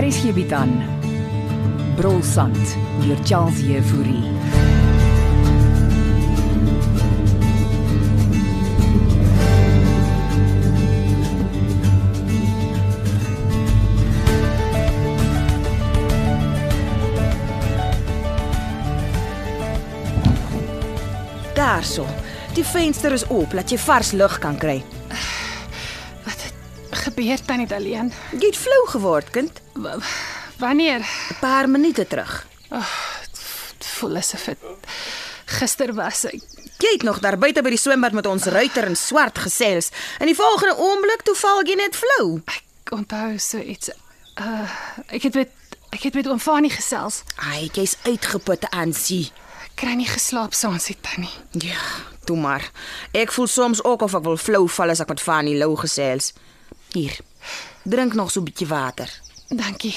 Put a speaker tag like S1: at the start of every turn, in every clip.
S1: Hier is hierby dan. Brolsand deur Charles Euphorie.
S2: Daarso. Die venster is oop dat jy vars lug kan kry.
S3: Wat het gebeur tannie Daleen?
S2: Jy het flou geword, kind.
S3: W- Wanneer?
S2: 'n Paar minute terug.
S3: Het Voel asof dit gister was. Ek,
S2: Jy het nog daar buite by die swembad met ons ruiter in swart gesels. In die volgende oomblik toe val jy net flou.
S3: ek onthou so iets. Uh, ek het met ek het met oom Fanie gesels.
S2: Ai, jy's uitgeput aan sie.
S3: Ek kry nie geslaap saans nie tannie.
S2: Ja, toe maar. Ek voel soms ook of ek wil flou val as ek met Fanny Lou gesels. Hier. Drink nog so 'n bietjie water.
S3: Dankie.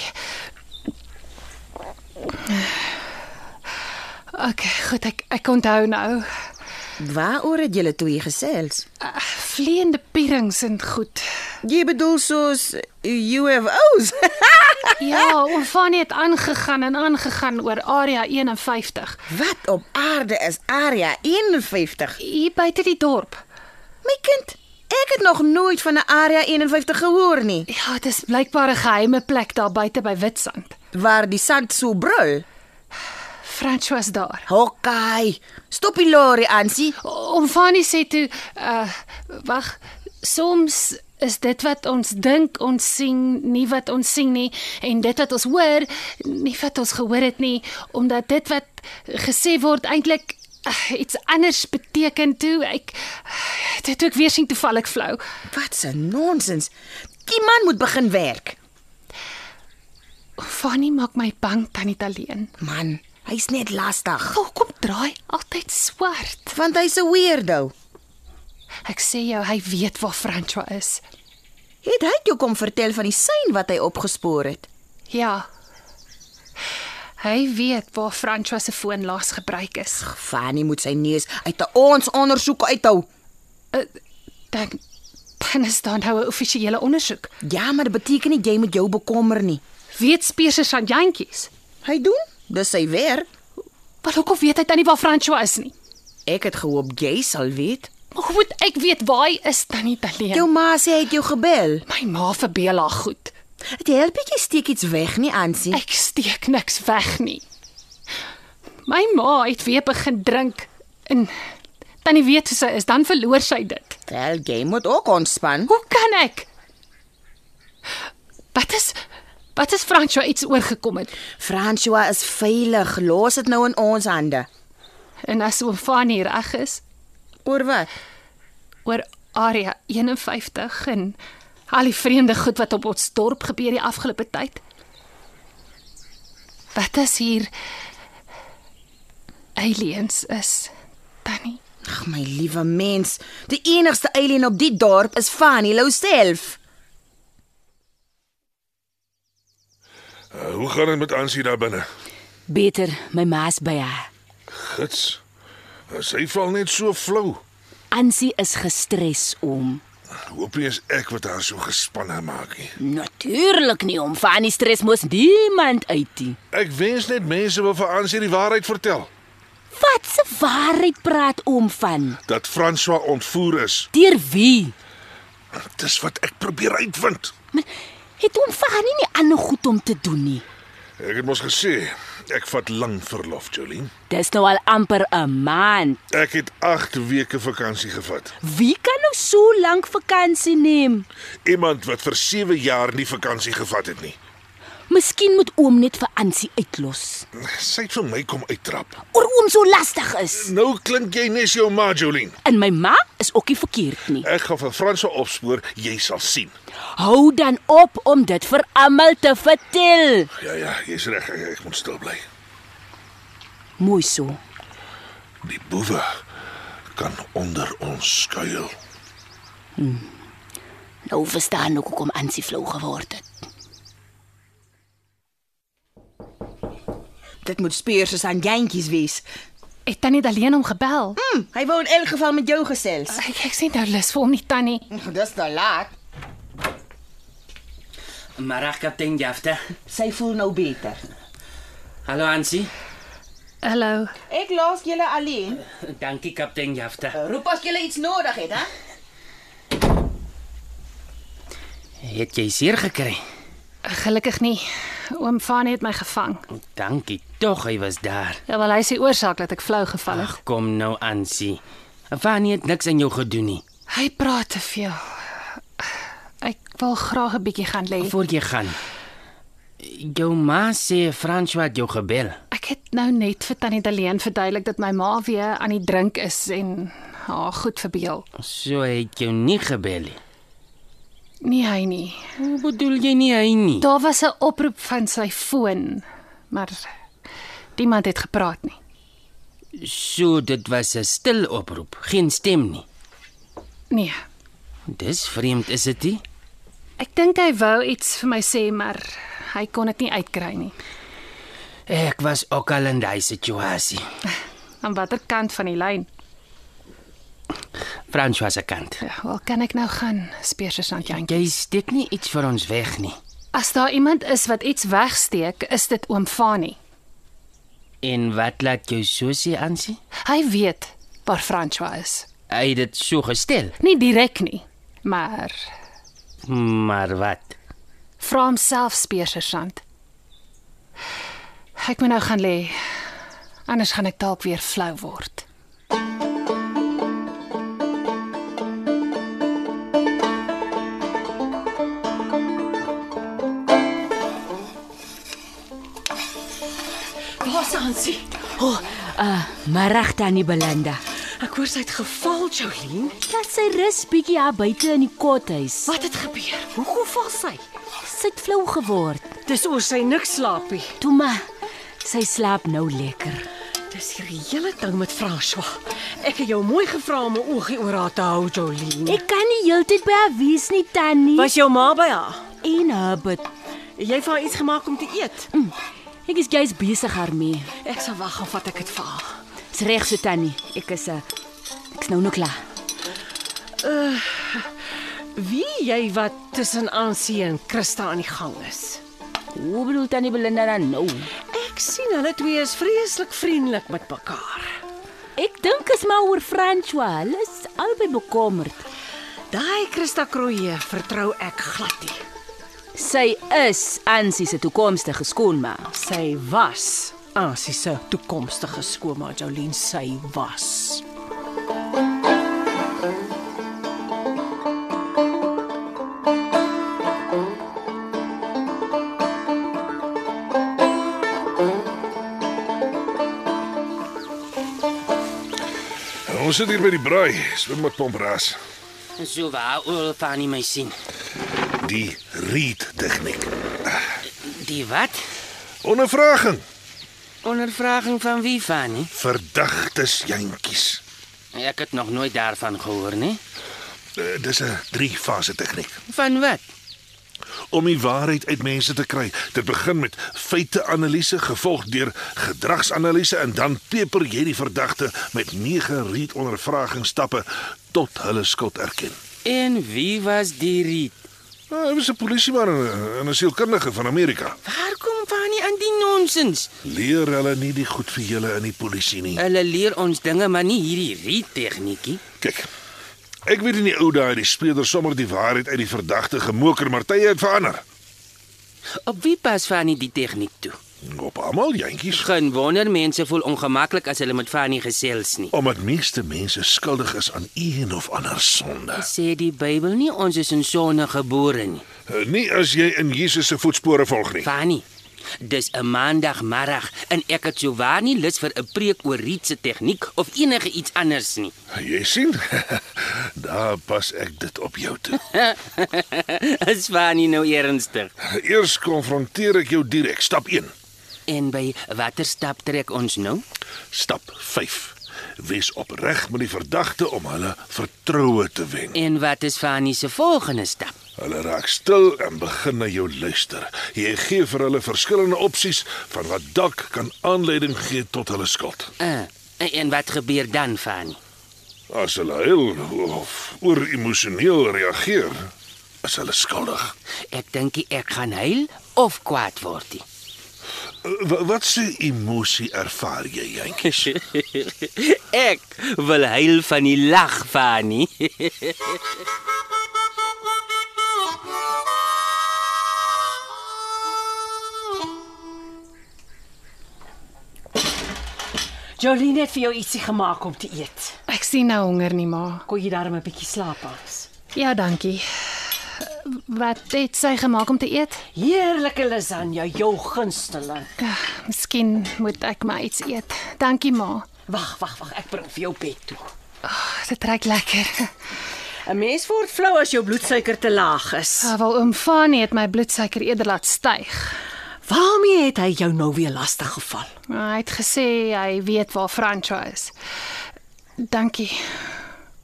S3: OK, goed, ek ek onthou nou.
S2: Waaroor het julle toe hier gesels?
S3: Uh, vleiende pierings en goed.
S2: Jy bedoel soos UFO's.
S3: Ja, oom Fanie het aangegaan en aangegaan oor area 51
S2: Wat op aarde is area 51?
S3: hier buite die dorp.
S2: My kind, ek het nog nooit van 'n area 51 gehoor nie,
S3: Ja, dit is blykbaar 'n geheime plek daar buite by Witstrand.
S2: waar die sand so brul.
S3: François is daar.
S2: Hokkai, stop die lorry aan, sien?
S3: Om Fanny sê toe, uh wag, soms is dit wat ons dink ons sien nie wat ons sien nie en dit wat ons hoor nie wat ons gehoor het nie omdat dit wat gesê word eintlik uh, iets anders beteken toe ek eh, dit toe ek weer sien toevallig flou.
S2: Wat 'n nonsens. Die man moet begin werk.
S3: Fanny maak my bang tannie Taleen.
S2: Man, hy's net lastig,
S3: Hoekom draai altyd swart?
S2: want hy's 'n weirdo.
S3: Ek sê jou, hy weet waar Francois is.
S2: Het hy jou kom vertel van die sein wat hy opgespoor het?
S3: Ja. Hy weet waar Francois se foon laas gebruik is.
S2: Fanny moet sy neus uit 'n ons ondersoek uithou.
S3: Dan dan is daar nou 'n offisiële ondersoek.
S2: Ja, maar dit beteken nie jy moet jou bekommer nie.
S3: Weet Speerse aan jantjies.
S2: Hy doen, dis sy werk.
S3: Maar hoekom weet hy dan nie waar Francois is nie?
S2: Ek het gehoop jy sal weet.
S3: Maar hoe moet ek weet waar hy is dan nie alleen?
S4: Ja.
S2: Jou ma sê hy het jou gebel.
S3: my ma verbeel haar goed.
S2: Dit help jy steek iets weg nie aan sien.
S3: Ek steek niks weg nie. My ma het weer begin drink en tannie weet hoe sy is, dan verloor sy dit.
S2: Wel, jy moet ook ontspan.
S3: Hoe kan ek? Wat is wat is Francois iets oorgekom het?
S2: François is veilig. Los dit nou in ons hande.
S3: En as oom Fanie reg is
S2: Oor wat?
S3: oor area 51 en al die vreemde goed wat op ons dorp gebeur die afgelope tyd. Wat as hier aliens is, Tannie?
S2: Ag my liewe mens, die enigste alien op die dorp is Fanny Lou self.
S5: Uh, hoe gaan dit met Ansie daar binne?
S4: Beter, my ma's by haar.
S5: Gits. Uh, Sy val net so flou.
S4: Ansie is gestres om.
S5: Hoop nie is ek wat haar so gespanne maak nie.
S4: Natuurlik nie om van die stres mos niemand uit nie.
S5: Ek wens net mense wil vir Ansie die waarheid vertel
S4: Wat se waarheid praat oom van?
S5: dat François ontvoer is.
S4: Deur wie?
S5: Dis wat ek probeer uitvind.
S4: Man, het oom van nie ander goed om te doen nie.
S5: Ek het mos gesê ek vat lank verlof, Jolien.
S4: Dis nou al amper 'n maand.
S5: Ek het 8 weke vakansie gevat.
S4: Wie kan nou so lank vakansie neem?
S5: Iemand wat vir 7 jaar nie vakansie gevat het nie.
S4: Miskien moet oom net vir Ansie uitlos.
S5: Sy het vir my kom uittrap.
S4: Oor oom so lastig is.
S5: Nou klink jy nes jou ma, Jolien.
S4: En my ma is ook nie verkeerd nie.
S5: Ek gaan vir François opspoor, jy sal sien.
S4: Hou dan op om dit vir almal te vertel.
S5: Ja ja, jy's reg, ek, ek moet stil bly.
S4: Mooi so.
S5: Die boewe kan onder ons skuil.
S4: Nou verstaan ek hoekom Ansie flou geword het.
S2: Dit moet speurs soos aan jantjies wees.
S3: Het tannie Daleen hom gebel?
S2: Hm, hy wou in elk geval met jou gesels.
S3: Ek ek sien nou lus vir hom nie tannie.
S2: Dis te laat.
S6: Middag kaptein Jafta.
S2: Sy voel nou beter.
S6: Hallo Ansie.
S3: Hallo.
S2: Ek laat julle alleen.
S6: Dankie kaptein Jafta.
S2: Roep as julle iets nodig het, hè?
S6: Het jy seer gekry?
S3: Gelukkig nie. Oom Fanie het my gevang.
S6: Dankie tog hy was daar.
S3: Ja, wel hy is die oorsaak dat ek flou geval het.
S6: Ag kom nou Ansie. Fanny het niks aan jou gedoen nie.
S3: Hy praat te veel. Ek wil graag 'n bietjie gaan lê.
S6: Voor jy gaan. Jou ma sê François het jou gebel.
S3: Ek het nou net vir Tannie Daleen verduidelik dat my ma weer aan die drink is en haar goed verbeel.
S6: So hy het jou nie gebel nie.
S3: Nee, hy nie.
S6: Hoe bedoel jy nie hy nie?
S3: Daar was 'n oproep van sy foon, maar niemand het gepraat nie.
S6: So dit was 'n stil oproep, geen stem nie.
S3: Nee.
S6: Dis vreemd is dit nie?
S3: Ek dink hy wou iets vir my sê, maar hy kon dit nie uitkry nie.
S6: Ek was ook al in daai situasie.
S3: Aan watter kant van die lyn?
S6: François se kant.
S3: Ja, waar kan ek nou gaan? Speersersant Jantjie.
S6: Jy steek nie iets vir ons weg nie.
S3: As daar iemand is wat iets wegsteek, is dit oom Fanie.
S6: En wat laat jou so sê aansie?
S3: Hy weet waar François is.
S6: Hy het dit so gestel.
S3: Nie direk nie, maar
S6: Maar wat?
S3: vra homself speersersant. Ek moet nou gaan lê. Anders gaan ek dalk weer flou word.
S7: Waar's Ansie?
S4: O, oh, uh, middag tannie Belinda.
S7: Ek hoor sy het geval, Jolene.
S4: Dat sy rus bietjie daar buite in die kothuis.
S7: Wat het gebeur? Hoekom val sy?
S4: Sy't flou geword.
S7: Dis oor sy niks slaapie.
S4: Toe maar. Sy slaap nou lekker.
S7: Dis hierdie hele ding met François. Ek het jou mooi gevra om 'n oogie oor haar te hou, Jolene.
S4: Ek kan nie heeltyd by haar wees nie tannie.
S7: Was jou ma by haar?
S4: en Herbert.
S7: Het jy vir haar iets gemaak om te eet?
S4: Ek is jous besig daarmee.
S7: Ek sal wag en vat ek dit vir haar.
S4: Dis reg so tannie. Ek is 'n uh, Ek's nou nog klaar.
S7: Wie jy wat tussen Ansie en Christa aan die gang is?
S4: Hoe bedoel tannie Belinda dan nou?
S7: Ek sien hulle twee is vreeslik vriendelik met mekaar.
S4: Ek dink is maar oor François. Hulle is albei bekommerd.
S7: Daai Christa Kroeje vertrou ek glad nie.
S4: Sy is Ansie se toekomstige skoonma.
S7: Sy was Ansie se toekomstige skoonma Jolene, sy was.
S5: Ja, Ons sit hier by die braai, swem met pompras.
S6: So waar oor Fanny my sien.
S5: Die reed tegniek.
S6: Die wat?
S5: Ondervraging.
S6: Ondervraging van wie Fanny?
S5: Verdagtes jantjies.
S6: Ek het nog nooit daarvan gehoor nie.
S5: Eh, Dis 'n drie-fase tegniek
S6: Van wat?
S5: om die waarheid uit mense te kry. Dit begin met feite-analise gevolg deur gedragsanalise en dan peper jy die verdagte met nege reed ondervragingsstappe tot hulle skuld erken.
S6: En wie was die Riet?
S5: Nou, Hy was 'n polisieman en 'n- en 'n sielkundige van Amerika.
S6: Waar kom Fanny aan die nonsens?
S5: Leer hulle nie die goed vir julle in die polisie nie.
S6: Hulle leer ons dinge, maar nie hierdie Riet tegniekie.
S5: Kyk. Ek weet in die ou dae het die speler sommer die waarheid uit die verdagte gemoker, maar tye het verander.
S6: Op wie pas Fanny die tegniek toe?
S5: Op almal jantjies.
S6: Geen wonder mense voel ongemaklik as hulle met Fanny gesels nie.
S5: Omdat meeste mense skuldig is aan een of ander sonde.
S6: Sê die Bybel nie ons is in sonde gebore nie.
S5: Nie as jy in Jesus se voetspore volg nie.
S6: Fanny, dis 'n maandagmiddag en ek het souwaar nie lus vir 'n preek oor rietse tegniek of enige iets anders nie.
S5: Jy sien? Daar pas ek dit op jou toe.
S6: Is Fanny nou ernstig?
S5: Eers konfronteer ek jou direk, stap 1.
S6: En by watter stap trek ons nou?
S5: Stap 5. Wees opreg met die verdagte om hulle vertroue te wen.
S6: En wat is Fanny se volgende stap?
S5: Hulle raak stil en begin na jou luister. Jy gee vir hulle verskillende opsies van wat dalk kan aanleiding gee tot hulle skuld.
S6: Uh, en wat gebeur dan, Fanny?
S5: As hulle huil of oor emosioneel reageer, is hulle skuldig.
S6: Ek dink nie ek gaan huil of kwaad word nie.
S5: W wat se emosie ervaar jy, Jantjie?
S6: Ek wil huil van die lag, Fanny.
S7: Jolene het vir jou ietsie gemaak om te eet.
S3: Ek sien nou honger nie, ma.
S7: Kon jy darm 'n bietjie slaap as?
S3: Ja, dankie. Wat het sy gemaak om te eet?
S7: Heerlike lasagne, jou gunsteling.
S3: Ah, Miskien moet ek maar iets eet. Dankie, ma.
S7: Wag, wag, wag, ek bring vir jou bed toe.
S3: Oh, dit ruik lekker.
S7: 'n Mens word flou as jou bloedsuiker te laag is.
S3: Terwyl oom Fanie het my bloedsuiker eerder laat styg.
S7: Waarmee het hy jou nou weer lastig geval?
S3: Hy het gesê hy weet waar Franco is. Dankie.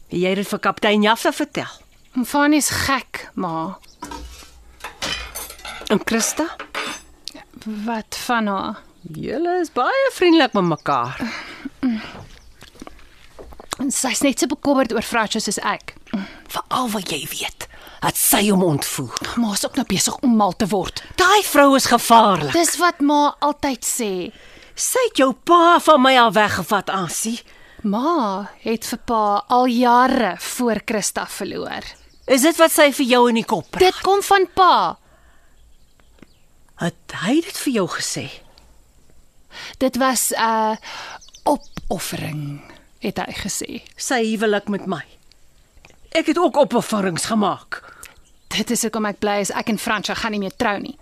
S7: Jy het dit vir kaptein Jafta vertel.
S3: Oom Fanie is gek, ma.
S7: En Christa?
S3: Wat van haar?
S7: Julle is baie vriendelik met mekaar.
S3: Sy's net so bekommerd oor Franco soos ek.
S7: Veral wat jy weet, het sy hom ontvoer.
S3: Ma is ook nou besig om mal te word.
S7: Daai vrou is gevaarlik.
S3: Dis wat ma altyd sê.
S7: Sy het jou pa van my al weggevat, Ansie.
S3: Ma het vir pa al jare voor Christa verloor.
S7: Is dit wat sy vir jou in die kop praat?
S3: Dit kom van pa.
S7: Het hy dit vir jou gesê?
S3: Dit was 'n uh, opoffering, het hy gesê.
S7: Sy huwelik met my. Ek het ook opofferings gemaak.
S3: Dit is hoekom ek bly is ek en Fransja gaan nie meer trou nie.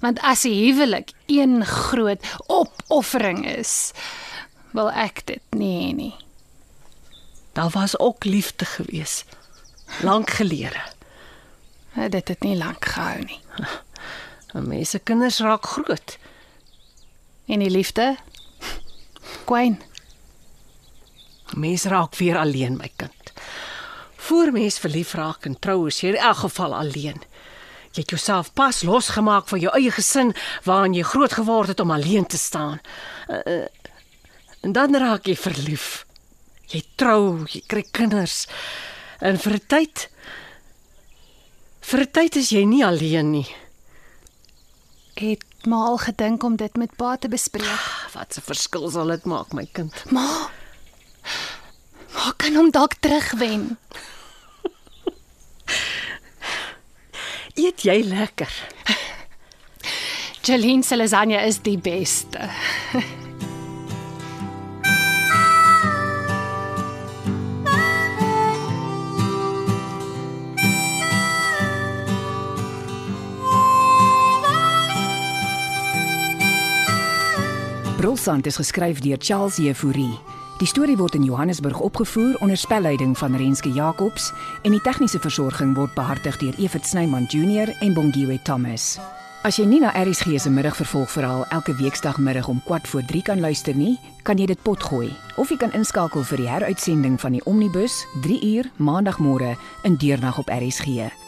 S3: Want as 'n huwelik een groot opoffering is, wil ek dit nie hê nie.
S7: Daar was ook liefde gewees. Lank gelede.
S3: Uh, Dit het nie lank gehou nie.
S7: 'n Mens se kinders raak groot.
S3: En die liefde? Queen,
S7: 'n Mens raak weer alleen, my kind. Voor mens verlief raak en trou is jy in elk geval alleen. Jy het jouself pas losgemaak van jou eie gesin waarin jy groot geword het om alleen te staan. Uh, uh, en dan raak jy verlief. Jy trou, jy kry kinders. En vir 'n tyd vir 'n tyd is jy nie alleen nie.
S3: het ma al gedink om dit met pa te bespreek.
S7: Wat 'n verskil sal dit maak, my kind?
S3: Ma Ma kan hom dalk terugwen.
S7: Eet jy lekker?
S3: Jolene se lasagne is die beste.
S1: Brulsand is geskryf deur Charles Jefouri. Die storie word in Johannesburg opgevoer onder spelleiding van Renske Jacobs en die tegniese versorging word behartig deur Evert Snyman Junior en Bongwe Thomas. As jy nie na ERG se middagvervolgverhaal elke weekdagmiddag om 14:45 kan luister nie, kan jy dit potgooi of jy kan inskakel vir die heruitsending van die Omnibus 3 uur maandagmôre in deernag op ERG.